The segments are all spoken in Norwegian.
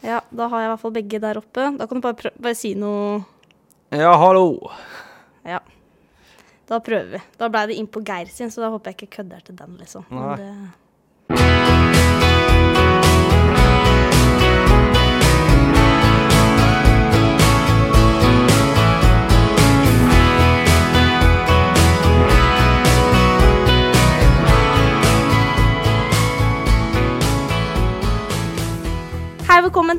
Ja, da har jeg i hvert fall begge der oppe. Da kan du bare, prø bare si noe Ja, hallo. Ja. Da prøver vi. Da blei det inn på Geir sin, så da håper jeg ikke kødder til den, liksom. Nei. det... Hei, velkommen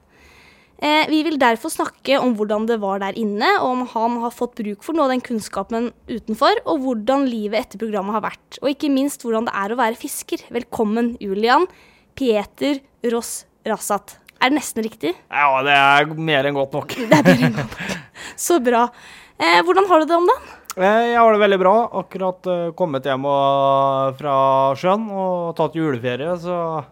Eh, vi vil derfor snakke om hvordan det var der inne, og om han har fått bruk for noe av den kunnskapen utenfor, og hvordan livet etter programmet har vært. Og ikke minst hvordan det er å være fisker. Velkommen, Julian Pieter Ross Rassat. Er det nesten riktig? Ja, det er mer enn godt nok. Eh, Så bra. Eh, hvordan har du det om dagen? Eh, Jeg har det veldig bra. Akkurat eh, kommet hjem og- fra sjøen og tatt juleferie, så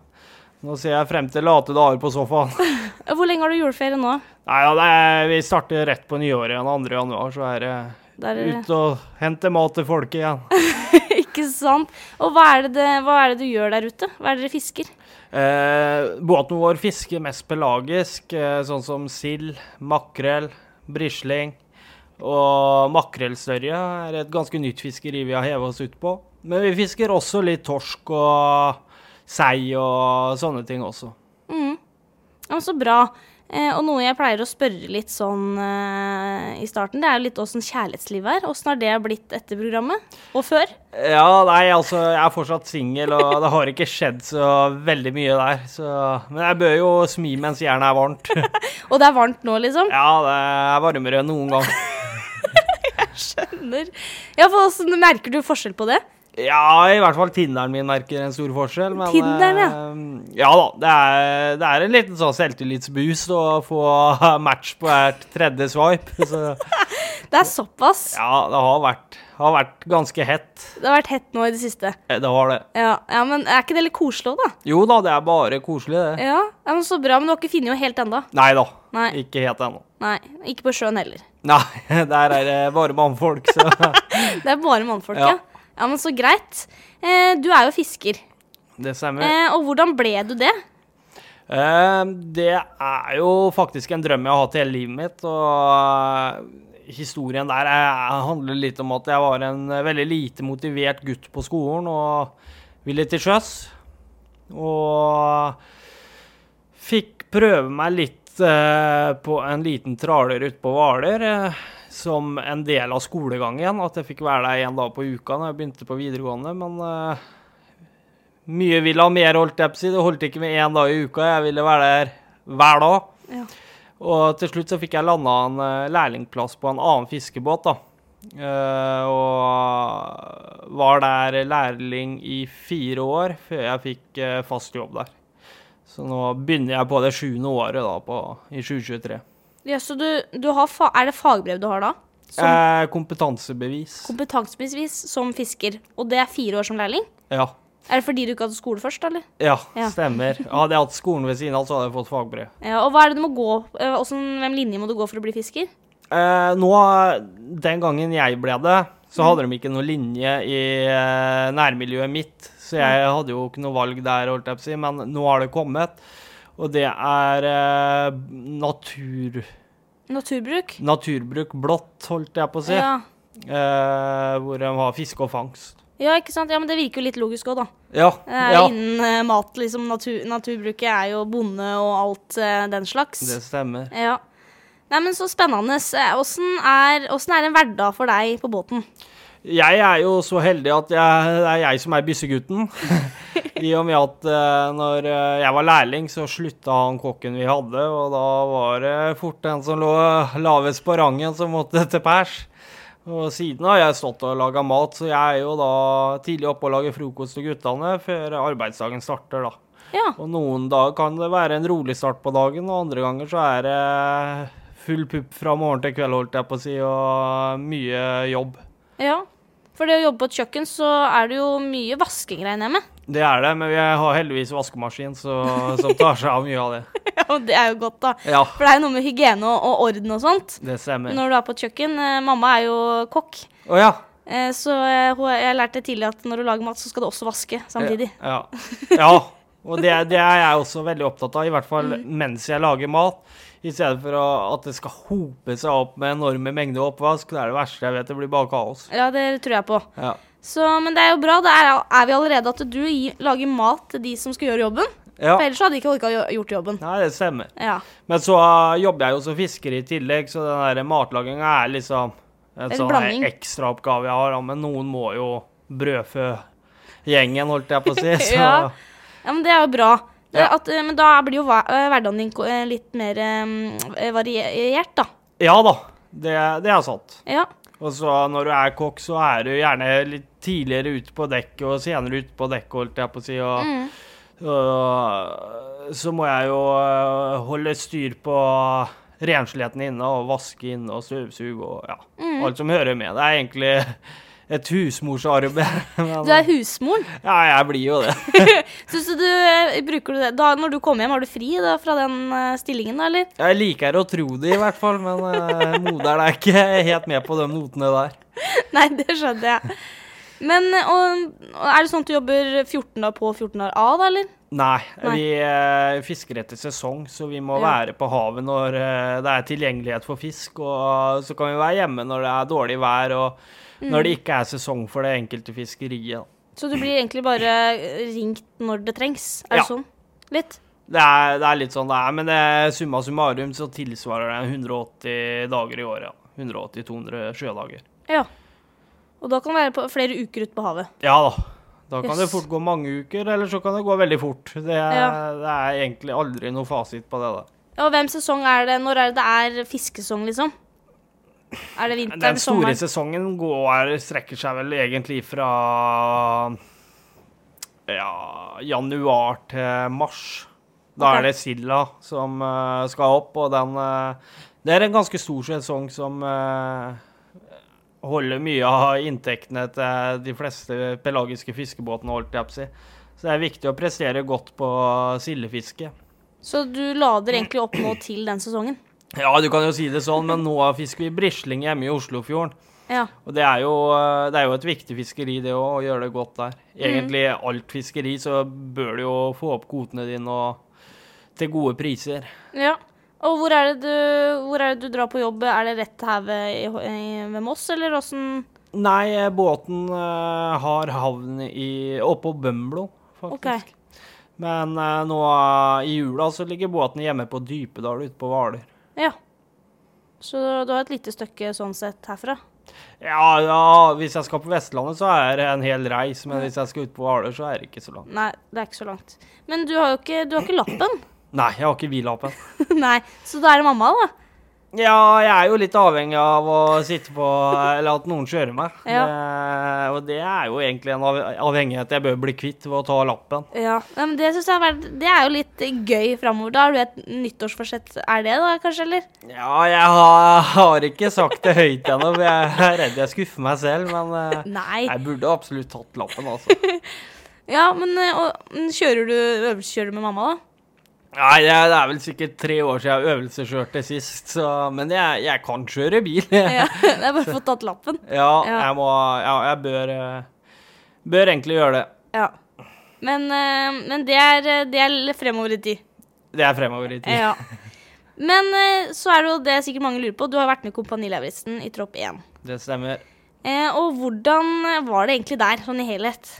nå ser jeg frem til late dager på sofaen. Eh, Hvor lenge har du juleferie nå? Nei, ja, det er, vi starter rett på nyåret igjen, 2. januar, så er det Der, ut og hente mat til folket igjen. ikke sant? Og hva er, det, det- hva er det du gjør der ute? Hva er det dere fisker? Eh, båten vår fisker mest pelagisk, eh, sånn som sild, makrell, brisling. Og makrellstørje er et ganske nytt fiskeri vi har hevet oss ut på. Men vi fisker også litt torsk og sei og sånne ting også. Mm. Ja, men så bra. Eh, og noe jeg pleier å spørre litt sånn eh, i starten, det er jo litt åssen kjærlighetslivet er. Åssen har det blitt etter programmet? Og før? Ja, nei, altså, jeg er fortsatt singel, og det har ikke skjedd så veldig mye der. Så, men jeg bør jo smi mens jernet er varmt. Og det er varmt nå, liksom? Ja, det er varmere enn noen gang. Skjønner. Ja, for åssen merker du forskjell på det? Ja, i hvert fall Tinderen min merker en stor forskjell. Men, Tinderen, ja. eh, ja da. Det er, det er en liten sånn selvtillitsboost å få match på hvert tredje swipe. Så Det er såpass. ja, det har vært, har vært ganske hett. Det har vært hett nå i det siste. Eh, Det har det. Ja, ja men er ikke det litt koselig òg, da? Jo da, det er bare koselig, det. Ja. ja, men Så bra. Men du har ikke funnet noe helt ennå? Nei da. Nei. Ikke helt ennå. Nei. Ikke på sjøen heller. Nei, der er det bare mannfolk, så Det er bare mannfolk, ja. Ja. ja. men så greit. Eh, du er jo fisker. det stemmer. Eh, og hvordan ble du det? Eh, Det er jo faktisk en drøm jeg har hatt hele livet mitt, og eh, historien der eh, handler litt om at jeg var en eh, veldig lite motivert gutt på skolen og ville til sjøs. Og fikk prøve meg litt eh, på en liten traler ute på Hvaler eh, som en del av skolegangen. At jeg fikk være der én dag på uka når jeg begynte på videregående, men eh, mye ville ha mer, holdt jeg på å si. Det holdt ikke med én dag i uka. Jeg ville være der hver dag. Ja. Og til slutt så fikk jeg landa en eh, lærlingplass på en annen fiskebåt, da. Eh, og var der lærling i fire år før jeg fikk eh, fast jobb der. Så nå begynner jeg på det sjuende året da, på, i 2023. Ja, så du, du har fa Er det fagbrev du har da? Som Eh, kompetansebevis. kompetansebevis som fisker, og det er fire år som lærling? ja. Er det fordi du ikke hadde skole først, eller? ja, Ja. stemmer. Hadde jeg hatt skolen ved siden av, så hadde jeg fått fagbrev. Ja, og hva er det du må gå eh, hvordan- Hvem linje må du gå for å bli fisker? Eh, nå, den gangen jeg ble det, Mm. så hadde de ikke noe linje i eh, nærmiljøet mitt, så Mm. jeg hadde jo ikke noe valg der, holdt jeg på å si, men nå har det kommet. Og det er eh, natur, Naturbruk? naturbruk blått, holdt jeg på å si, Ja. eh, hvor de har fiske og fangst. ja, ikke sant? Ja, men det virker jo litt logisk òg, da. Ja, Det er ja, innen eh, mat, liksom. Natur, naturbruket er jo bonde og alt eh, den slags. det stemmer. Ja. Nei, men så spennende. Eh, Åssen er, åssen er en hverdag for deg på båten? Jeg er jo så heldig at jeg, det er jeg som er byssegutten. I og med at eh, når eh, jeg var lærling, så slutta han kokken vi hadde, og da var det fort den som lå lavest på rangen, som måtte til pers. Og siden har jeg stått og laga mat, så jeg er jo da tidlig oppe og lager frokost til guttene før arbeidsdagen starter, da. Ja. Og noen dager kan det være en rolig start på dagen, og andre ganger så er det full pupp fra morgen til kveld, holdt jeg på å si, og mye jobb. ja. For det å jobbe på et kjøkken, så er det jo mye vasking, regner jeg med. Det er det, men vi har heldigvis vaskemaskin så, som tar seg av mye av det. Ja, men det er jo godt, da. Ja, For det er jo noe med hygiene og, og orden og sånt. det stemmer. Når du er på et kjøkken eh, Mamma er jo kokk, Å ja. eh, så eh, hun, jeg lærte tidlig at når du lager mat, så skal du også vaske samtidig. Ja. ja. Og det, det er jeg også veldig opptatt av, i hvert fall Mm. mens jeg lager mat. I stedet for å, at det skal hope seg opp med enorme mengder oppvask. Det er det verste jeg vet. Det blir bare kaos. Ja, det tror jeg på. Ja. Så, men det er jo bra. Da er, er vi allerede at du gi- lager mat til de som skal gjøre jobben. ja. For ellers hadde de ikke orka å gjø- gjort jobben. Nei, det stemmer. Ja. Men så uh, jobber jeg jo som fisker i tillegg, så den der matlaginga er liksom en Det er en sånn blanding. ekstraoppgave jeg har. da, Men noen må jo brødfø gjengen, holdt jeg på å si. Så Ja. ja, men det er jo bra. Det, Ja. at, eh, men da blir jo hva- eh, hverdagen din ko- eh, litt mer eh, variert, da. ja da. Det, det er sant. Ja. Og så når du er kokk, så er du gjerne litt tidligere ute på dekk og senere ute på dekk, holdt jeg på å si. Og, Mm. og så må jeg jo øh, holde styr på rensligheten inne og vaske inne og støvsuge og ja, Mm. alt som hører med. Det er egentlig et husmorsarbeid. men- eh, Du er husmoren. Ja, jeg blir jo det. Synes du, du bruker du det da, Når du kommer hjem, har du fri da, fra den eh, stillingen, da, eller? Jeg liker å tro det, i hvert fall, men øh, moderen er ikke helt med på de notene der. Nei, det skjønner jeg. Men eh, og, og er det sånn at du jobber 14 dager på og 14 dager av, da, eller? Nei, Nei. vi eh, fisker etter sesong, så vi må Ja. være på havet når eh, det er tilgjengelighet for fisk. Og så kan vi være hjemme når det er dårlig vær, og når Mm. det ikke er sesong for det enkelte fiskeriet. da. Så du blir egentlig bare ringt når det trengs? Er Ja. det sånn? Litt? Det er, det er litt sånn det er, men eh, summa summarum så tilsvarer det 180 dager i året. Ja. 180-200 sjødager. Ja. Og da kan det være på flere uker ute på havet. Ja da. Da kan det Yes. fort gå mange uker, eller så kan det gå veldig fort. Det, Ja. det er egentlig aldri noe fasit på det. da. Ja, og hvem sesong er det? Når er det det er fiskesong, liksom? Er det vinteren? Den store sommeren? sesongen går, strekker seg vel egentlig fra ja, januar til mars. Da Ok. er det silda som eh, skal opp, og den eh, Det er en ganske stor sesong som eh, holder mye av inntektene til de fleste pelagiske fiskebåtene, holdt jeg på å si. Så det er viktig å prestere godt på sildefiske. Så du lader egentlig opp nå til den sesongen? Ja, du kan jo si det sånn, men nå fisker vi brisling hjemme i Oslofjorden. Ja. Og det er, jo, eh, det er jo et viktig fiskeri, det òg, å gjøre det godt der. Egentlig alt fiskeri, så bør du jo få opp kvotene dine og til gode priser. ja. Og hvor er, det du, hvor er det du drar på jobb? Er det rett her ved, i, i, ved Moss, eller åssen Nei, eh, båten eh, har havn i, oppå Bømlo, faktisk. Ok. Men eh, nå eh, i jula så ligger båten hjemme på Dypedal ute på Hvaler. Ja. Så du har et lite stykke sånn sett herfra? Ja, ja, hvis jeg skal på Vestlandet, så er det en hel reis, men hvis jeg skal ut på Hvaler, så er det ikke så langt. Nei, det er ikke så langt. Men du har jo ikke, du har ikke lappen. Nei, jeg har ikke hvilappen. Nei, så da er det mamma, da. Ja, jeg er jo litt avhengig av å sitte på Eller at noen kjører meg. Ja. Det, og det er jo egentlig en av- avhengighet jeg bør bli kvitt ved å ta lappen. Ja, Nei, men det synes jeg har vært, det er jo litt gøy framover. Da har du et nyttårsforsett. Er det da, kanskje, eller? Ja, jeg har, har ikke sagt det høyt ennå, for jeg er redd jeg skuffer meg selv, men eh, Nei. jeg burde absolutt tatt lappen, altså. Ja, men eh, og, mm, kjører du øvelseskjører du med mamma, da? Nei, det er det er vel sikkert tre år siden jeg øvelseskjørte sist, så Men jeg, jeg kan kjøre bil. Ja, jeg har bare fått tatt lappen. Ja, Ja. jeg må Ja, jeg bør eh, Bør egentlig gjøre det. Ja. Men, eh, men det, er, eh, det er litt fremover i tid. Det er fremover i tid. Ja. Men eh, så er det jo det sikkert mange lurer på. Du har vært med i Kompani Lauritzen i tropp 1. Det stemmer. Eh, og hvordan eh, var det egentlig der, sånn i helhet?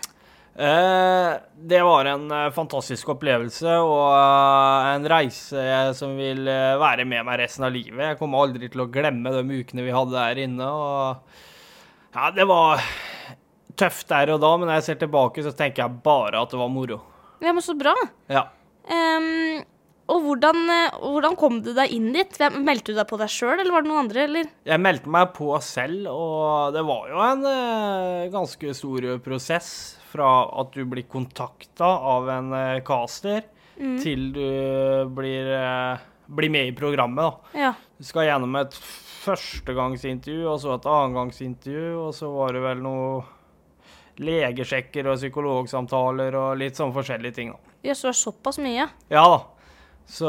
Eh, det var en eh, fantastisk opplevelse og eh, en reise som vil eh, være med meg resten av livet. Jeg kommer aldri til å glemme de ukene vi hadde der inne. Og ja, det var tøft der og da, men når jeg ser tilbake, så tenker jeg bare at det var moro. Ja, men så bra. Ja. Ehm, og hvordan, eh, hvordan kom du deg inn dit? Hvem, meldte du deg på deg sjøl, eller var det noen andre? Eller? Jeg meldte meg på selv, og det var jo en eh, ganske stor prosess fra at du blir kontakta av en eh, caster, til du blir eh, bli med i programmet. da. Ja. Du skal gjennom et førstegangsintervju, og så et annengangsintervju, og så var det vel noe legesjekker og psykologsamtaler og litt sånn forskjellige ting. da. Jøss, det var såpass mye. Ja da. Så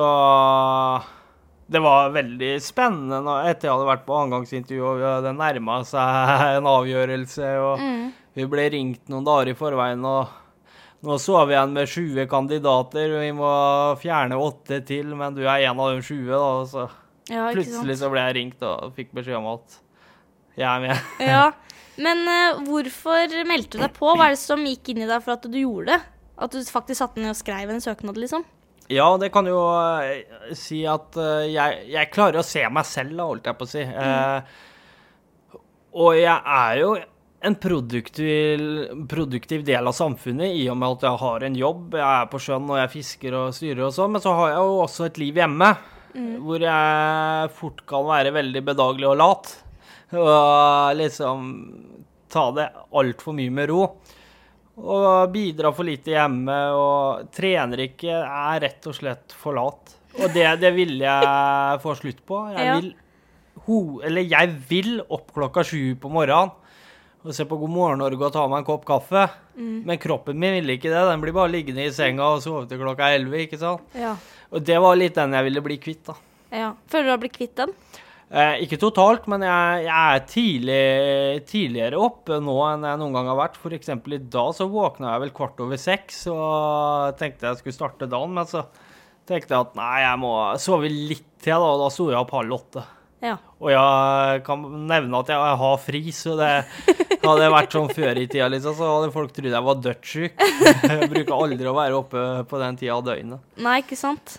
det var veldig spennende når- etter jeg hadde vært på angangsintervju, og det nærma seg en avgjørelse. og... Mm. Vi ble ringt noen dager i forveien, og nå så vi igjen med 20 kandidater. og Vi må fjerne åtte til, men du er en av de 20, da. og Så Ja, ikke sant. plutselig så ble jeg ringt og fikk beskjed om at jeg er med. Ja. Men eh, hvorfor meldte du deg på? Hva er det som gikk inn i deg for at du gjorde det? At du faktisk satte ned og skrev en søknad, liksom? Ja, det kan jo eh, si at eh, jeg, jeg klarer å se meg selv, da, holdt jeg på å si. Eh, og jeg er jo en produktiv, produktiv del av samfunnet i og med at jeg har en jobb, jeg er på sjøen og jeg fisker og styrer og sånn, men så har jeg jo også et liv hjemme hvor jeg fort kan være veldig bedagelig og lat. Og liksom ta det altfor mye med ro. Og bidrar for lite hjemme og trener ikke, er rett og slett for lat. Og det, det ville jeg få slutt på. Jeg Ja. vil, ho, eller jeg vil opp klokka sju på morgenen og se på God morgen Norge og ta meg en kopp kaffe. Men kroppen min vil ikke det. Den blir bare liggende i senga og sove til klokka elleve. ikke sant? Ja. Og det var litt den jeg ville bli kvitt, da. ja. Føler du har blitt kvitt den? Eh, ikke totalt, men jeg, jeg er tidlig, tidligere oppe nå enn jeg noen gang har vært. For eksempel i dag så våkna jeg vel kvart over seks og tenkte jeg skulle starte dagen, men så tenkte jeg at nei, jeg må sove litt til, da, og da sto jeg opp halv åtte. Ja. Og jeg kan nevne at jeg har fri, så det hadde jeg vært sånn før i tida, liksom, så hadde folk trodd jeg var dødssyk. Jeg bruker aldri å være oppe på den tida av døgnet. Nei, ikke sant?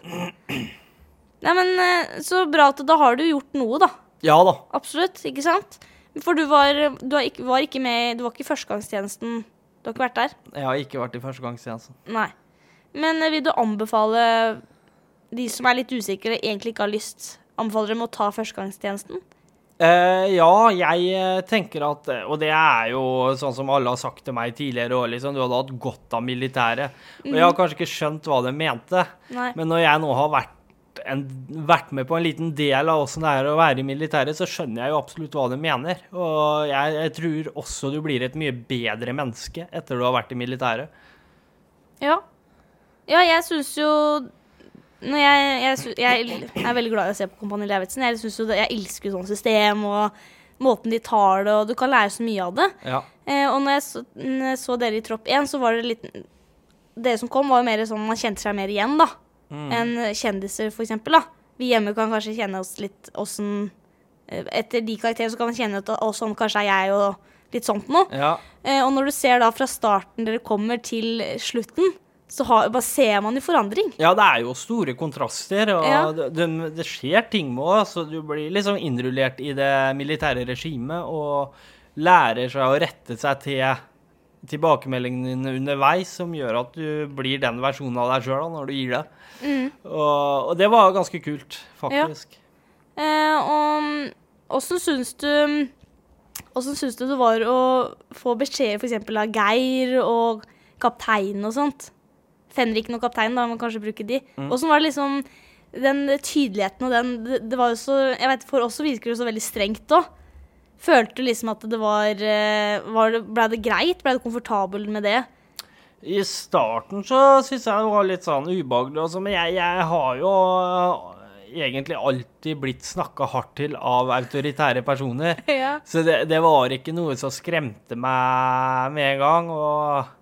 Nei, men eh, så bra at da har du gjort noe, da. Ja da. Absolutt, ikke sant? For du var, du har ikke, var ikke med Du var ikke i førstegangstjenesten. Du har ikke vært der? Jeg har ikke vært i førstegangstjenesten. Nei. Men eh, vil du anbefale de som er litt usikre, egentlig ikke har lyst, anbefaler dem å ta førstegangstjenesten? Eh, ja, jeg eh, tenker at Og det er jo sånn som alle har sagt til meg tidligere òg, liksom. Du hadde hatt godt av militæret. Og jeg har kanskje ikke skjønt hva de mente, Nei. men når jeg nå har vært, en, vært med på en liten del av åssen det er å være i militæret, så skjønner jeg jo absolutt hva de mener. Og jeg, jeg tror også du blir et mye bedre menneske etter du har vært i militæret. Ja. Ja, jeg syns jo når jeg, jeg, sy- jeg er veldig glad i å se på Kompani Lauritzen. Jeg synes jo det, jeg elsker jo sånn system og måten de tar det, og du kan lære så mye av det. Ja. Eh, og når jeg, så, når jeg så dere i Tropp 1, så var det litt Dere som kom, var jo mer sånn man kjente seg mer igjen, da. Enn kjendiser, for eksempel. Da. Vi hjemme kan kanskje kjenne oss litt åssen eh, Etter de karakterene så kan man kjenne at «Å, sånn kanskje er jeg, og litt sånt noe. ja. Eh, og når du ser da fra starten dere kommer til slutten, så har, bare ser man jo forandring. Ja, det er jo store kontraster, og Ja. det, det- det skjer ting med oss, så du blir liksom innrullert i det militære regimet og lærer seg å rette seg til tilbakemeldingene dine underveis, som gjør at du blir den versjonen av deg sjøl når du gir det. Og, og det var ganske kult, faktisk. Eh, og åssen syns du Åssen syns du det var å få beskjeder f.eks. av Geir og kapteinen og sånt? Fenriken og kapteinen, da, man kanskje bruke de. Åssen var det liksom den tydeligheten og den det, det var jo så Jeg vet, for oss så virker det så veldig strengt òg. Følte du liksom at det var, eh, var det, Blei det greit? Blei du komfortabel med det? I starten så syns jeg det var litt sånn ubehagelig også, men jeg, jeg har jo eh, egentlig alltid blitt snakka hardt til av autoritære personer. Ja. Så det, det var ikke noe som skremte meg med en gang, og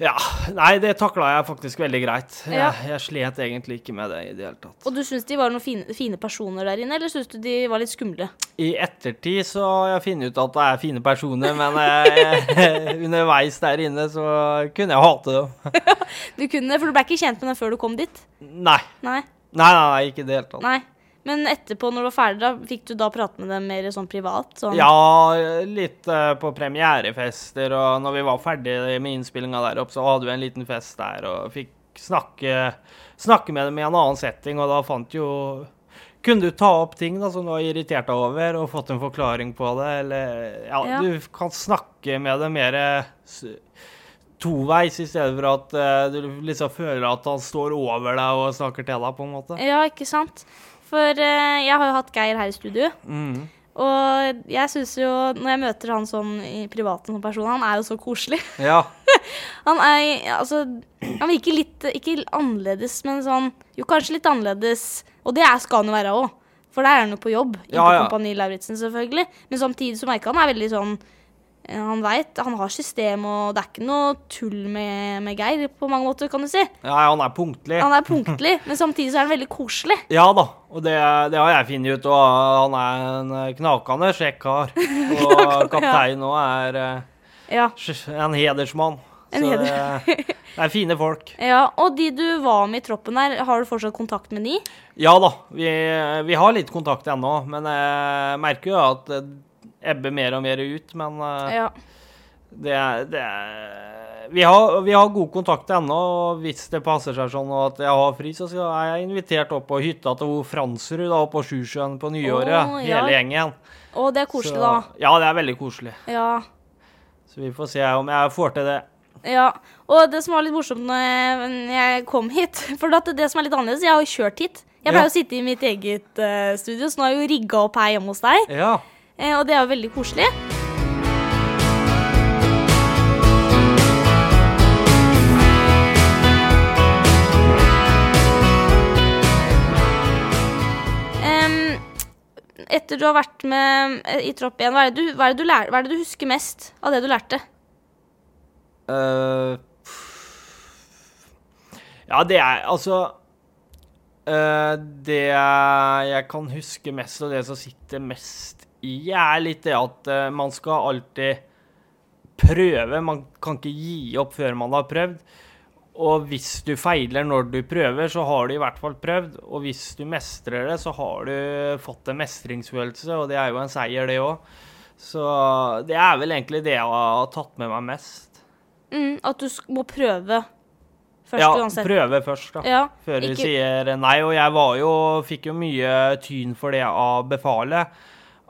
Ja. Nei, det takla jeg faktisk veldig greit. Ja. Jeg, jeg slet egentlig ikke med det i det hele tatt. Og du syns de var noen fine, fine personer der inne, eller syns du de var litt skumle? I ettertid så har jeg funnet ut at det er fine personer, men eh, underveis der inne så kunne jeg hate dem. Du kunne, for du ble ikke kjent med dem før du kom dit? Nei. Nei. Nei, nei, nei ikke i det hele tatt. nei. Men etterpå, når du var ferdig, da, fikk du da prate med dem mer sånn privat? Sånn. Ja, litt eh, på premierefester, og når vi var ferdig med innspillinga der oppe, så hadde vi en liten fest der og fikk snakke, snakke med dem i en annen setting, og da fant jo Kunne du ta opp ting da, som du var irritert deg over, og fått en forklaring på det, eller Ja, Ja. du kan snakke med dem mer eh, s- toveis, i stedet for at eh, du liksom føler at han står over deg og snakker til deg, på en måte. Ja, ikke sant? For eh, jeg har jo hatt Geir her i studio, Mm. og jeg syns jo Når jeg møter han sånn i privaten som person, han er jo så koselig. Ja. Han er altså Han virker litt eh, Ikke annerledes, men sånn Jo, kanskje litt annerledes, og det er, skal han jo være òg. For der er han jo på jobb, ikke Ja, ja. Kompani Lauritzen, selvfølgelig. Men samtidig så merker jeg han er veldig sånn eh, han veit, han har system, og det er ikke noe tull med, med Geir på mange måter, kan du si. ja, han er punktlig. Han er punktlig, men samtidig så er han veldig koselig. Ja da, og det, det har jeg funnet ut, og han er en eh, knakende sjekkar. Og kaptein òg er eh, Ja. sj- en hedersmann. En Så det, det er fine folk. ja. Og de du var med i troppen her, har du fortsatt kontakt med de? Ja da, vi, vi har litt kontakt ennå, men jeg merker jo at det ebber mer og mer ut. Men eh, Ja. det, er- det er vi har, vi har god kontakt ennå, og hvis det passer seg sånn at jeg har fri, så skal, er jeg invitert opp på hytta til hun Fransrud da, oppe på Sjusjøen på nyåret. Å, ja. Hele gjengen. Og det er koselig, så, da. Ja, det er veldig koselig. Ja. Så vi får se om jeg får til det. ja. Og det som var litt morsomt når jeg, når jeg kom hit For at det som er litt annerledes, jeg har jo kjørt hit. Jeg Ja. pleier å sitte i mitt eget eh, studio, så nå har jeg jo rigga opp her hjemme hos deg. Ja. Eh, og det er jo veldig koselig. Em, etter du har vært med eh, i tropp igjen, hva er, det du, hva, er det du lær, hva er det du husker mest av det du lærte? Eh, ja, det er altså eh, Det jeg kan huske mest, og det som sitter mest i, er litt det at eh, man skal alltid prøve. Man kan ikke gi opp før man har prøvd. Og hvis du feiler når du prøver, så har du i hvert fall prøvd. Og hvis du mestrer det, så har du fått en mestringsfølelse, og det er jo en seier, det òg. Så det er vel egentlig det jeg har tatt med meg mest. Mm, at du sk må prøve først Ja, uansett. prøve først, da. Ja, Før du ikke- sier nei. Og jeg var jo Fikk jo mye tyn for det av befalet.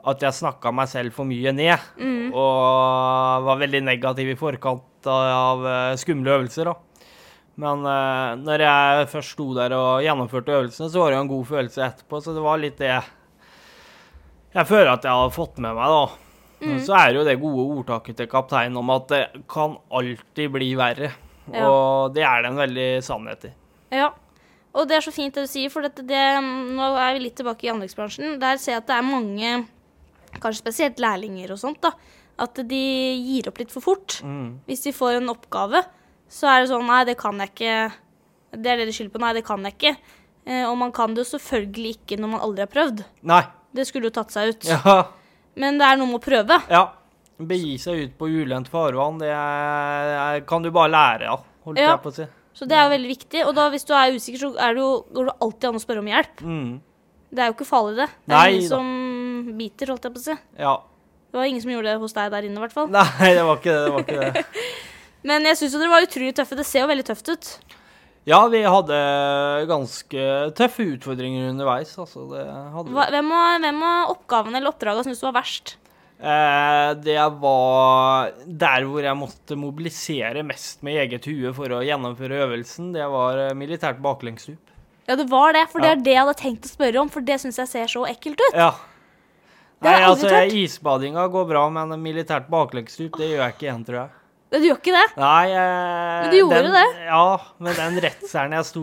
At jeg snakka meg selv for mye ned. Mm. Og var veldig negativ i forkant av eh, skumle øvelser, da. Men eh, når jeg først sto der og gjennomførte øvelsene, så var det jo en god følelse etterpå. Så det var litt det jeg føler at jeg har fått med meg, da. Men Mm. Så er det jo det gode ordtaket til kapteinen om at det kan alltid bli verre. Ja. Og det er det en veldig sannhet i. Ja. Og det er så fint det du sier, for dette, det, nå er vi litt tilbake i anleggsbransjen. Der ser jeg at det er mange, kanskje spesielt lærlinger og sånt, da, at de gir opp litt for fort. Mm. Hvis de får en oppgave, så er det sånn Nei, det kan jeg ikke. Det er det de skylder på. Nei, det kan jeg ikke. Eh, og man kan det jo selvfølgelig ikke når man aldri har prøvd. Nei. Det skulle jo tatt seg ut. Ja. Men det er noe med å prøve. ja. Begi seg ut på ulendt farvann, det er, er- kan du bare lære av, holdt Ja. jeg på å si. Så det er jo veldig viktig. Og da, hvis du er usikker, så er det jo, går det alltid an å spørre om hjelp. Mm. Det er jo ikke farlig, det. Det Nei er ingen da. som biter, holdt jeg på å si. Ja. Det var ingen som gjorde det hos deg der inne, i hvert fall. Nei, det var ikke det. det, var ikke det. Men jeg syns jo dere var utrolig tøffe. Det ser jo veldig tøft ut. Ja, vi hadde ganske tøffe utfordringer underveis, altså. Det hadde vi. Hva, hvem, av, hvem av oppgavene eller oppdragene syns du var verst? Eh, det var der hvor jeg måtte mobilisere mest med eget hue for å gjennomføre øvelsen. Det var eh, militært baklengsstup. Ja, det var det, for det Ja. er det jeg hadde tenkt å spørre om, for det syns jeg ser så ekkelt ut. Ja. Det har Nei, jeg aldri altså, tørt. isbadinga går bra, men militært baklengsstup, det gjør jeg ikke igjen, tror jeg. Du gjør ikke det? Nei eh, Men du gjorde den, det? Ja, men den retseren jeg sto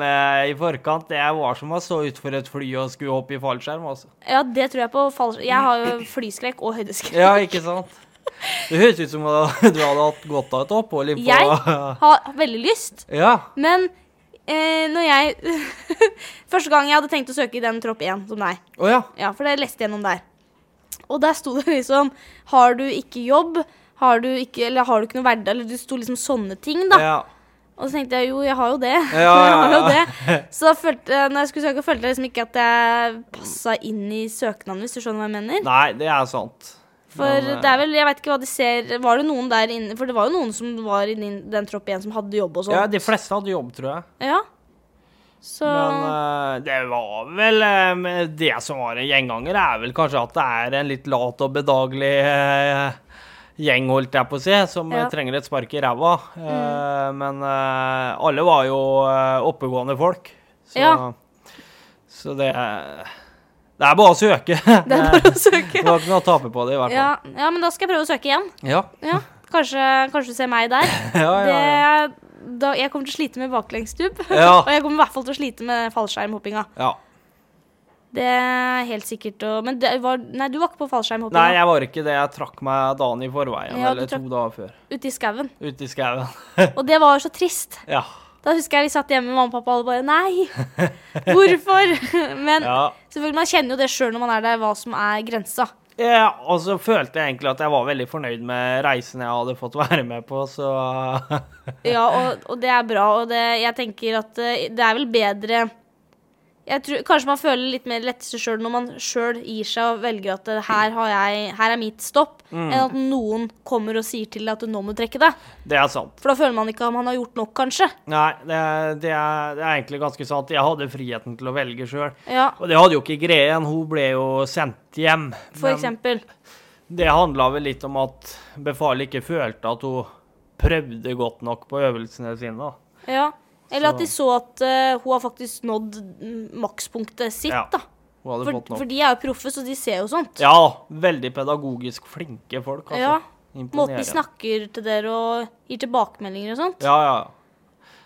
med i forkant, det var som å stå utfor et fly og skulle hoppe i fallskjerm, altså. Ja, det tror jeg på. Fall... Jeg har jo flyskrekk og høydeskrekk. Ja, ikke sant? Det høres ut som om du hadde hatt godt av et opphold i på Jeg har veldig lyst, Ja. men eh, når jeg Første gang jeg hadde tenkt å søke i den tropp én som deg. Å ja. Ja, for det leste jeg gjennom der. Og der sto det liksom Har du ikke jobb? Har du ikke, eller har du ikke noe hverdag? Eller det sto liksom sånne ting, da. ja. Og så tenkte jeg jo, jeg har jo det. ja, jeg har jo ja. det. Så da følte, når jeg skulle søke, følte jeg liksom ikke at jeg passa inn i søknaden, hvis du skjønner hva jeg mener. Nei, det er sant. For Men, eh, det er vel, jeg vet ikke hva de ser Var det noen der inne For det var jo noen som var i din, den tropp igjen, som hadde jobb og sånn. Ja, de fleste hadde jobb, tror jeg. Ja. Så Men eh, det var vel eh, men Det som var en gjenganger, er vel kanskje at det er en litt lat og bedagelig eh, gjeng, holdt jeg på å si, som Ja. Mm. eh, trenger et spark i ræva. Eh, Men eh, alle var jo eh, oppegående folk, så, Ja. så det er, det er bare å søke. Det er bare å søke. Du har ikke noe å tape på det, i hvert Ja, fall. ja, men da skal jeg prøve å søke igjen. Ja. Ja, kanskje, kanskje du ser meg der. Ja, ja, ja. Det, da, jeg kommer til å slite med baklengsstubb. Ja. og jeg kommer i hvert fall til å slite med fallskjermhoppinga. ja. Det er helt sikkert å Men det var, nei, du var ikke på Nei, fallskjermhoppinga. jeg var ikke det. Jeg trakk meg dagen i forveien, Ja, du eller to trakk- dager før. Ute i skauen. Ute i skauen. Og det var så trist. Ja. Da husker jeg vi satt hjemme med mamma og pappa og alle bare Nei! Hvorfor? Men ja. selvfølgelig, man kjenner jo det sjøl når man er der, hva som er grensa. Ja, og så følte jeg egentlig at jeg var veldig fornøyd med reisen jeg hadde fått være med på, så Ja, og, og det er bra, og det, jeg tenker at eh, det er vel bedre jeg tror, Kanskje man føler litt mer lettelse sjøl når man sjøl gir seg og velger at eh, her, har jeg, her er mitt stopp, Mm. enn at noen kommer og sier til deg at du nå må du trekke deg. Det er sant. For da føler man ikke at man har gjort nok, kanskje. Nei, det er, det er, det er egentlig ganske sant. Jeg hadde friheten til å velge sjøl. Ja, Og det hadde jo ikke Green, hun ble jo sendt hjem. for eksempel. det handla vel litt om at befalet ikke følte at hun prøvde godt nok på øvelsene sine. da. Ja. Eller at de så Så- at eh, hun har faktisk nådd mm, makspunktet sitt, Ja, da. Hun hadde For, fått nok. for de er jo proffe, så de ser jo sånt. Ja, veldig pedagogisk flinke folk, altså. Ja. Måten Imponerende. de snakker til dere og gir tilbakemeldinger og sånt. Ja, ja.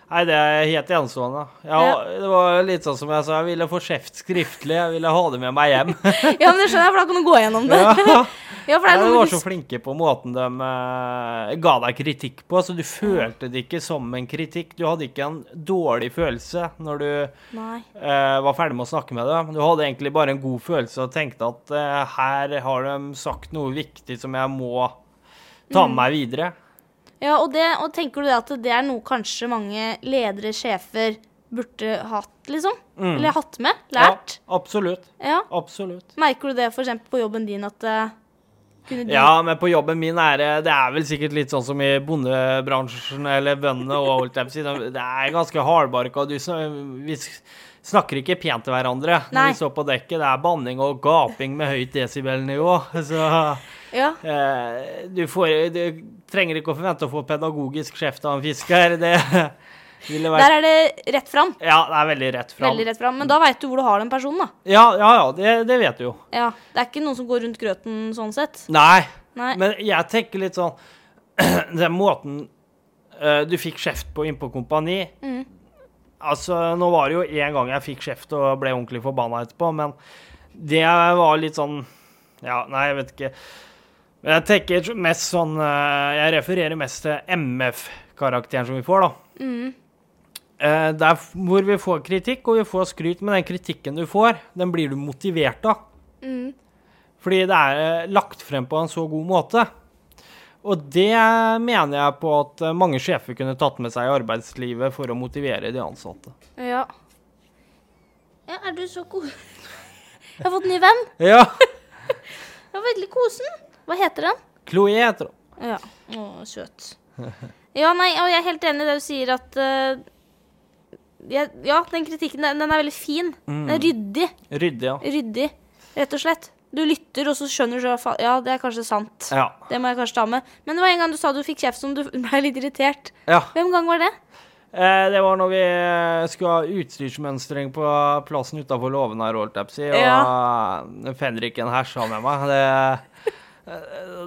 Nei, det er helt enestående. Ja, Det var litt sånn som jeg sa, jeg ville få kjeft skriftlig. Jeg ville ha det med meg hjem. Ja, men det skjønner jeg, for da kan du gå gjennom det. Ja. Ja, for det Nei, er de noe var du så flinke på måten de eh, ga deg kritikk på, så du følte det ikke som en kritikk. Du hadde ikke en dårlig følelse når du Nei. eh, var ferdig med å snakke med dem. Du hadde egentlig bare en god følelse og tenkte at eh, her har de sagt noe viktig som jeg må ta med Mm. meg videre. Ja, og, det, og tenker du det at det er noe kanskje mange ledere, sjefer, burde hatt, liksom? Eller hatt med? Lært? Mm. Ja, absolutt. Ja. Absolutt. Merker du det f.eks. på jobben din at eh, kunne du Ja, men på jobben min er det Det er vel sikkert litt sånn som i bondebransjen eller bøndene og holdt jeg på å si. de- Det er ganske hardbarka. og Du, sn- vi s- snakker ikke pent til hverandre Nei. når vi står på dekket. Det er banning og gaping med høyt desibelnivå. Så Ja. eh, du, får, du trenger ikke å forvente å få pedagogisk kjeft av en fisker. Det ville vært Der er det rett fram. Ja, det er veldig rett fram. Veldig rett fram. Men da veit du hvor du har den personen, da. Ja, ja, ja det, det vet du jo. Ja. Det er ikke noen som går rundt grøten sånn sett. Nei. Nei. Men jeg tenker litt sånn Den måten eh, du fikk kjeft på innpå kompani Mhm. Altså, nå var det jo en gang jeg fikk kjeft og ble ordentlig forbanna etterpå, men det var litt sånn Ja, nei, jeg vet ikke. Men Jeg tenker mest sånn eh, Jeg refererer mest til MF-karakteren som vi får, da. Mhm. Eh, der f- hvor vi får kritikk, og vi får skryt, men den kritikken du får, den blir du motivert av. Mhm. Fordi det er eh, lagt frem på en så god måte. Og det mener jeg på at eh, mange sjefer kunne tatt med seg i arbeidslivet for å motivere de ansatte. Ja. ja. Er du så god? Jeg har fått ny venn. Ja, Det var veldig kosen. Hva heter den? Chloé heter hun. Ja. Å, søt. Ja, nei, og jeg er helt enig i det du sier at eh, jeg, Ja, den kritikken, den, den er veldig fin. Den er ryddig. Ryddig, ja. Ryddig, rett og slett. Du lytter, og så skjønner du så fa- Ja, det er kanskje sant. Ja. Det må jeg kanskje ta med. Men det var en gang du sa du fikk kjeft som du ble litt irritert. ja. Hvem gang var det? Eh, det var når vi eh, skulle ha utstyrsmønstring på plassen utafor låven her, holdt jeg på å si, og eh, fenriken hersa med meg. Det, eh,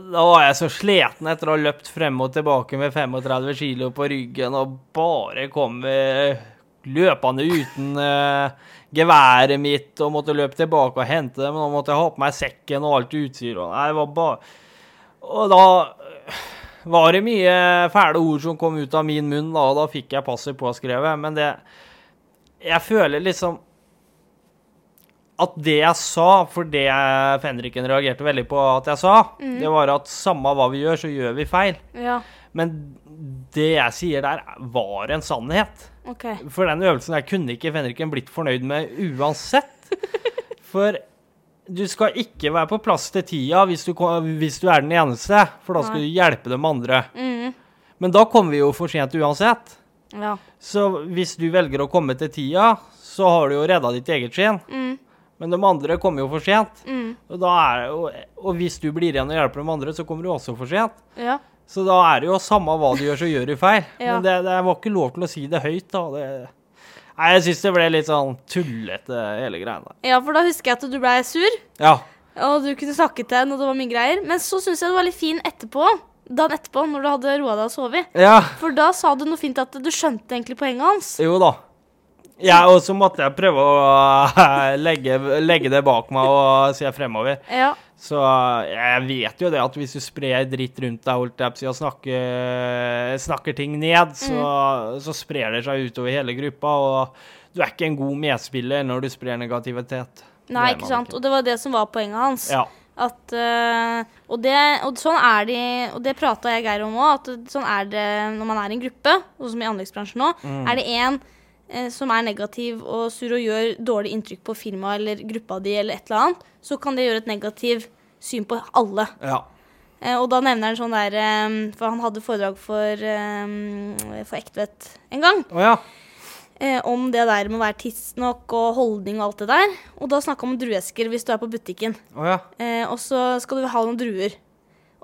da var jeg så sliten etter å ha løpt frem og tilbake med 35 kilo på ryggen og bare kom eh, løpende uten eh, geværet mitt og måtte løpe tilbake og hente det, men nå måtte jeg ha på meg sekken og alt utstyret. og Nei, det var bare Og da var det mye fæle ord som kom ut av min munn, da, og da fikk jeg passet påskrevet. Men det Jeg føler liksom at det jeg sa, for det fenriken reagerte veldig på at jeg sa, det var at samme hva vi gjør, så gjør vi feil. Ja, Men det jeg sier der, var en sannhet. OK. For den øvelsen der kunne ikke fenriken blitt fornøyd med uansett. For du skal ikke være på plass til tida hvis du, ko- hvis du er den eneste, for da skal du hjelpe de andre. Mhm. Men da kommer vi jo for sent uansett. Ja. Så hvis du velger å komme til tida, så har du jo redda ditt eget skinn. Mm. Men de andre kommer jo for sent. Mm. Og, da er, og, og hvis du blir igjen og hjelper de andre, så kommer du også for sent. Ja. Så da er det jo samme hva du gjør, så gjør du feil. Ja. Men det, det var ikke lov til å si det høyt, da. Det, nei, jeg syns det ble litt sånn tullete, hele greiene. ja, for da husker jeg at du blei sur, Ja. og du kunne snakke til henne, og det var mye greier. Men så syns jeg du var litt fin etterpå, dagen etterpå, når du hadde roa deg og sovet. ja. For da sa du noe fint at du skjønte egentlig poenget hans. Jo da. Ja, og så måtte jeg prøve å legge, legge det bak meg og se fremover. Ja. Så jeg vet jo det at hvis du sprer dritt rundt deg holdt jeg på å si, og snakker, snakker ting ned, så, Mm. så sprer det seg utover hele gruppa. Og du er ikke en god medspiller når du sprer negativitet. Nei, Det er ikke man sant. Og det var det som var poenget hans. Ja. At eh, og, det, og sånn er det Og det prata jeg og Geir om òg, at det- sånn er det når man er i en gruppe, sånn som i anleggsbransjen nå. Mm. Er det én som er negativ og sur og gjør dårlig inntrykk på firmaet eller gruppa di, eller et eller annet, så kan det gjøre et negativt syn på alle. ja. Eh, og da nevner han sånn der eh, For han hadde foredrag for, eh, for Ektvedt en gang Å ja. eh, om det der med å være tidsnok og holdning og alt det der. Og da snakka han om druesker hvis du er på butikken. Å ja. Eh, og så skal du ha noen druer.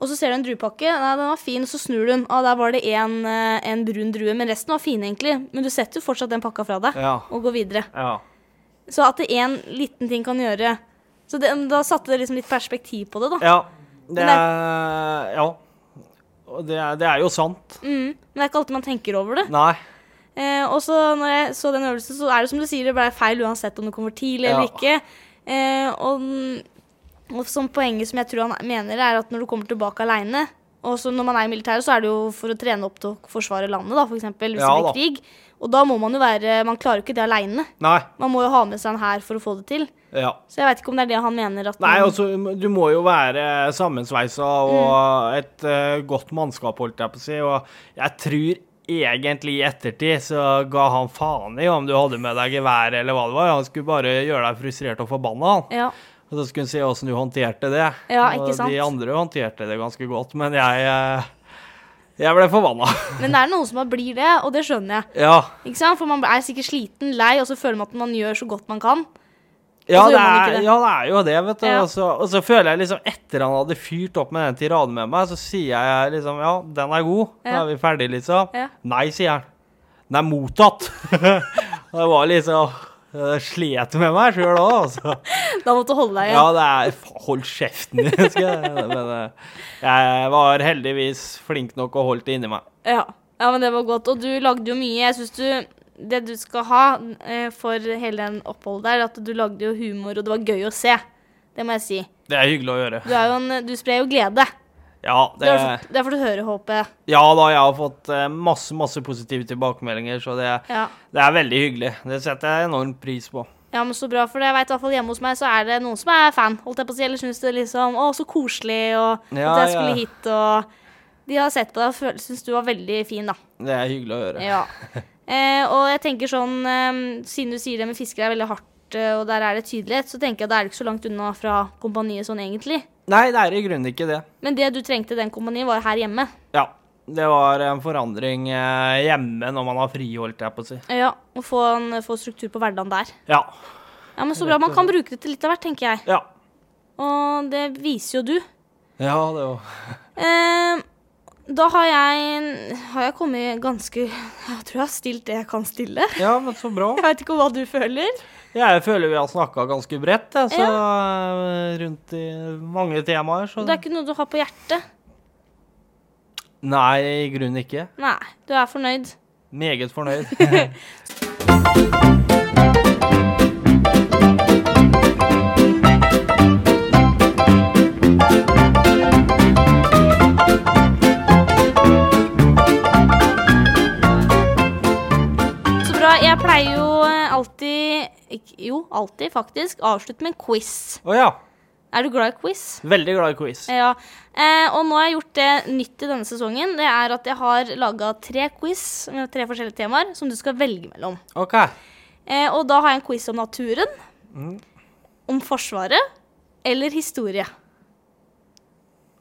Og så ser du en druepakke. Nei, den var fin, og så snur du den. Ah, der var det en, eh, en brun drue, men resten var fine, egentlig. Men du setter jo fortsatt den pakka fra deg Ja. og går videre. ja. Så at det én liten ting kan gjøre Så det, da satte det liksom litt perspektiv på det, da. Ja. Det Men er Ja. Og det er, det er jo sant. Mm. Men det er ikke alltid man tenker over det. Nei. Eh, og så når jeg så den øvelsen, så er det som du sier, det ble feil uansett om du kommer tidlig eller Ja. ikke. Eh, og, og som poenget som jeg tror han mener, er at når du kommer tilbake aleine og så når man er i militæret, så er det jo for å trene opp til å forsvare landet, da, for eksempel, hvis Ja, det da. blir krig. Og da må man jo være Man klarer jo ikke det aleine. Nei. Man må jo ha med seg en hær for å få det til. Ja. Så jeg veit ikke om det er det han mener at Nei, man- altså, du må jo være sammensveisa Mm. og et eh, godt mannskap, holdt jeg på å si. Og jeg tror egentlig i ettertid så ga han faen i om du hadde med deg gevær eller hva det var. Han skulle bare gjøre deg frustrert og forbanna, han. Ja. Og så skulle han se åssen du håndterte det. Ja, ikke og sant? de andre håndterte det ganske godt, men jeg eh, Jeg ble forbanna. Men det er noen som bare blir det, og det skjønner jeg. ja. Ikke sant? For man er sikkert sliten, lei, og så føler man at man gjør så godt man kan. Og Ja så det, gjør man er, ikke det. ja, det er jo det, vet du. Ja. Og, så, og så føler jeg liksom etter han hadde fyrt opp med den tiraden med meg, så sier jeg liksom Ja, den er god. Da Ja. er vi ferdige, liksom. Ja. Nei, sier han. Den er mottatt. det var liksom det slet med meg sjøl òg, altså. Da måtte du holde deg igjen. Ja, det er fa- Hold kjeften din, skal jeg Men eh, jeg var heldigvis flink nok og holdt det inni meg. Ja. ja, men det var godt. Og du lagde jo mye. Jeg syns du Det du skal ha eh, for hele den oppholdet der, at du lagde jo humor, og det var gøy å se. Det må jeg si. Det er hyggelig å gjøre. Du, er jo en, du sprer jo glede. Ja, Det, det, har du fått- det får du høre, håper jeg. ja da, jeg har fått eh, masse, masse positive tilbakemeldinger, så det Ja. Det er veldig hyggelig. Det setter jeg enorm pris på. ja, men så bra, for det. jeg vet, i hvert fall hjemme hos meg så er det noen som er fan, holdt jeg på å si. Eller syns det liksom Å, så koselig, og Ja, at jeg ja. skulle hit, og De har sett på deg og føl- syns du var veldig fin, da. Det er hyggelig å gjøre. Ja. Eh, og jeg tenker sånn, eh, siden du sier det med fiskere er veldig hardt, eh, og der er det tydelighet, så tenker jeg det er ikke så langt unna fra kompaniet sånn egentlig. Nei, det er i grunnen ikke det. Men det du trengte i den kompaniet, var her hjemme. Ja. Det var en forandring eh, hjemme når man har fri, holdt jeg på å si. Ja, Å få, en, få struktur på hverdagen der. Ja. Ja, men Så bra. Man kan bruke det til litt av hvert, tenker jeg. Ja. Og det viser jo du. Ja, det var Eh, da har jeg, har jeg kommet ganske Jeg tror jeg har stilt det jeg kan stille. Ja, men så bra. Jeg veit ikke hva du føler. Jeg føler vi har snakka ganske bredt, jeg, så eh, rundt i mange temaer, så Det er ikke noe du har på hjertet. Nei, i grunnen ikke. Nei, du er fornøyd. Meget fornøyd. Så bra. Jeg pleier jo eh, alltid ikk- Jo, alltid, faktisk. Avslutte med en quiz. Å ja. Er du glad i quiz? Veldig glad i quiz. Ja. Eh, og nå har jeg gjort det nytt i denne sesongen. Det er at jeg har laga tre quiz med tre forskjellige temaer som du skal velge mellom. OK. Eh, og da har jeg en quiz om naturen, om Forsvaret eller historie.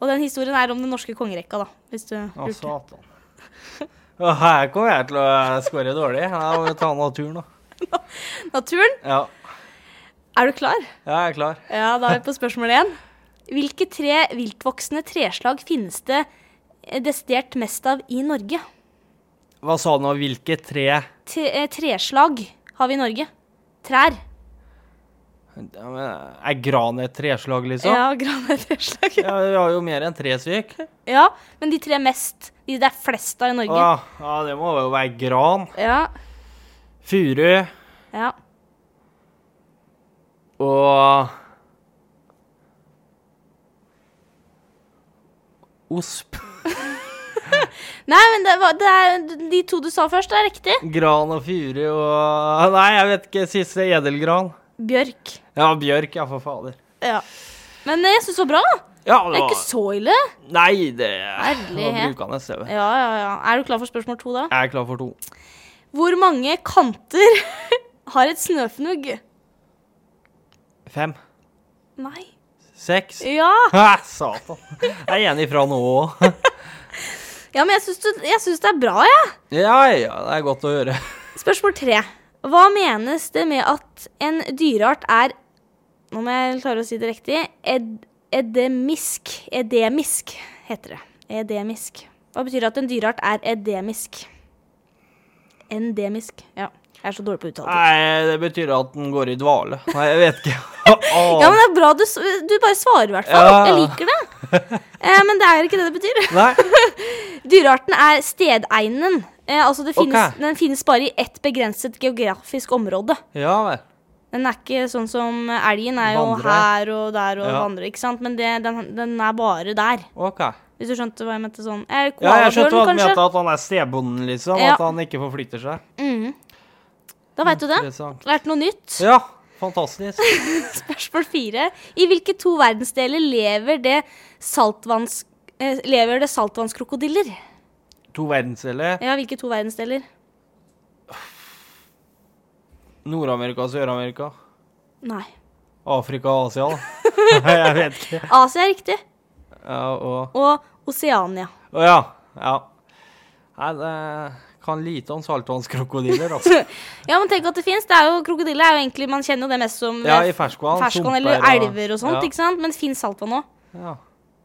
Og den historien er om den norske kongerekka, da. Hvis du Å, lurte. satan. Å, Her kommer jeg til å eh, score dårlig. Jeg må ta naturen, da. Naturen Ja. Er du klar? Jeg er klar. Ja, da er vi på spørsmål én. Hvilke tre viltvoksende treslag finnes det eh, desidert mest av i Norge? Hva sa du nå? Hvilke tre T eh, treslag har vi i Norge. Trær. Ja, men Er gran et treslag, liksom? Ja, granatreslag. Ja, vi har jo mer enn tre stykk. Ja, men de tre mest, de det er flest av i Norge. Ja, ja, det må jo være gran. Ja, Furu ja. og Osp. Nei, men det, var, det er de to du sa først, er riktig. Gran og furu og Nei, jeg vet ikke. Siste edelgran. Bjørk. Ja, bjørk, ja, for fader. Ja. Men eh, jeg syns det var bra. Ja, Det er var- ikke så ille. Nei, det var Herlighet. brukende CV. Ja, ja, ja. Er du klar for spørsmål to, da? Jeg er klar for to. Hvor mange kanter har et snøfnugg? Fem. Nei. Seks. Ja, Hæ, satan. Jeg er enig fra nå òg. ja men jeg syns, du, jeg syns det er bra, jeg. Ja. Ja, ja, det er godt å høre. Spørsmål tre. Hva menes det med at en dyreart er Nå må jeg klare å si det riktig. Ed, edemisk. Edemisk heter det. Edemisk. Hva betyr det at en dyreart er edemisk? Endemisk. Ja. Jeg er så dårlig på å uttale det. Nei, det betyr at den går i dvale. Nei, jeg vet ikke. Ah. Ja, men det er bra du, s- du bare svarer, i hvert fall. Ja. Jeg liker det. Eh, men det er ikke det det betyr. Nei, Dyrearten er stedeinen. Eh, altså det finnes, Ok. Den finnes bare i ett begrenset geografisk område. ja vel. Den er ikke sånn som elgen er jo Vandrer. her og der og Ja. vandrer, ikke sant? Men det, den, den er bare der. Ok. Hvis du skjønte hva jeg mente sånn. Eh, Ja, jeg skjønte hva du koalabjørnen, kanskje? mente, at han er stebonden, liksom. Ja. At han ikke forflytter seg. Da veit du det. Interessant. Lært noe nytt. Ja, fantastisk. Spørsmål fire. I hvilke to verdensdeler lever det, saltvanns, eh, lever det saltvannskrokodiller? To verdensdeler. Ja, hvilke to verdensdeler? Nord-Amerika, Sør-Amerika. Nei. Afrika og Asia, da. Nei, jeg vet ikke. Asia er riktig. Ja, og Og Oseania. Å ja. Ja. Nei, det kan lite om saltvannskrokodiller, altså. Ja, men tenk at det fins. Krokodille er jo egentlig Man kjenner jo det mest som Ja, eh, i ferskvann. ferskvann sumper eller elver og sånt, ja. ikke sant? Men det fins saltvann òg. Ja.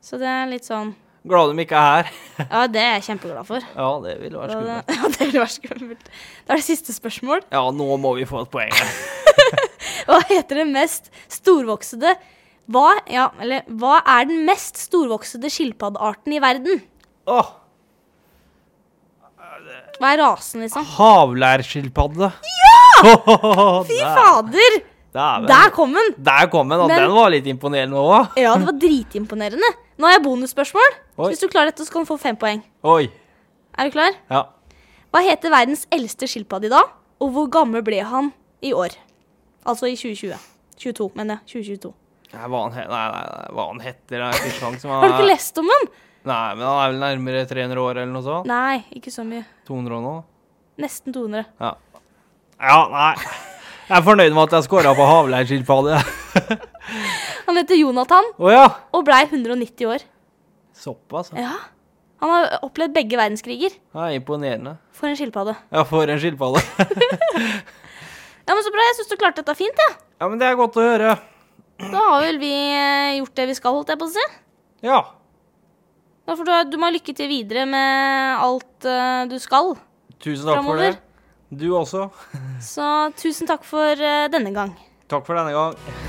Så det er litt sånn Glad de ikke er her. Ja, det er jeg kjempeglad for. Ja, det ville vært Da, ja, skummelt. det ville vært skummelt. Da er det siste spørsmål. Ja, nå må vi få et poeng. Hva heter den mest storvoksede hva, ja, eller, hva er den mest storvoksede skilpaddearten i verden? Åh, Hva er rasen, liksom? Havlærskilpadde. Ja! Fy fader! Der kom den! Der kom den, og Men- den var litt imponerende òg. Ja, det var dritimponerende. Nå har jeg bonusspørsmål. Oi. Hvis du klarer dette, så kan du få fem poeng. Oi. Er du klar? Ja. Hva heter verdens eldste skilpadde i dag, og hvor gammel ble han i år? Altså i 2020. 22, mener jeg. 2022. Nei, Hva han, he nei, nei, nei, hva han heter Har Har du ikke lest om den? Nei, men han er vel nærmere 300 år eller noe sånt. Nei, ikke så mye. 200 og noe. Nesten 200. Ja. ja, nei. Jeg er fornøyd med at jeg scora på havlærskilpadde. Han heter Jonathan Å ja. og blei 190 år. Såpass. ja. Ja. Han har opplevd begge verdenskriger. Ja, imponerende. For en skilpadde. Ja, for en skilpadde. Ja, men Så bra. Jeg syns du klarte dette fint. Ja. Ja, men det er godt å høre. Da har vel vi eh, gjort det vi skal, holdt jeg på å si. Ja. Da får du, du må ha lykke til videre med alt eh, du skal Tusen takk for det. framover. Du også. Så tusen takk for eh, denne gang. Takk for denne gang.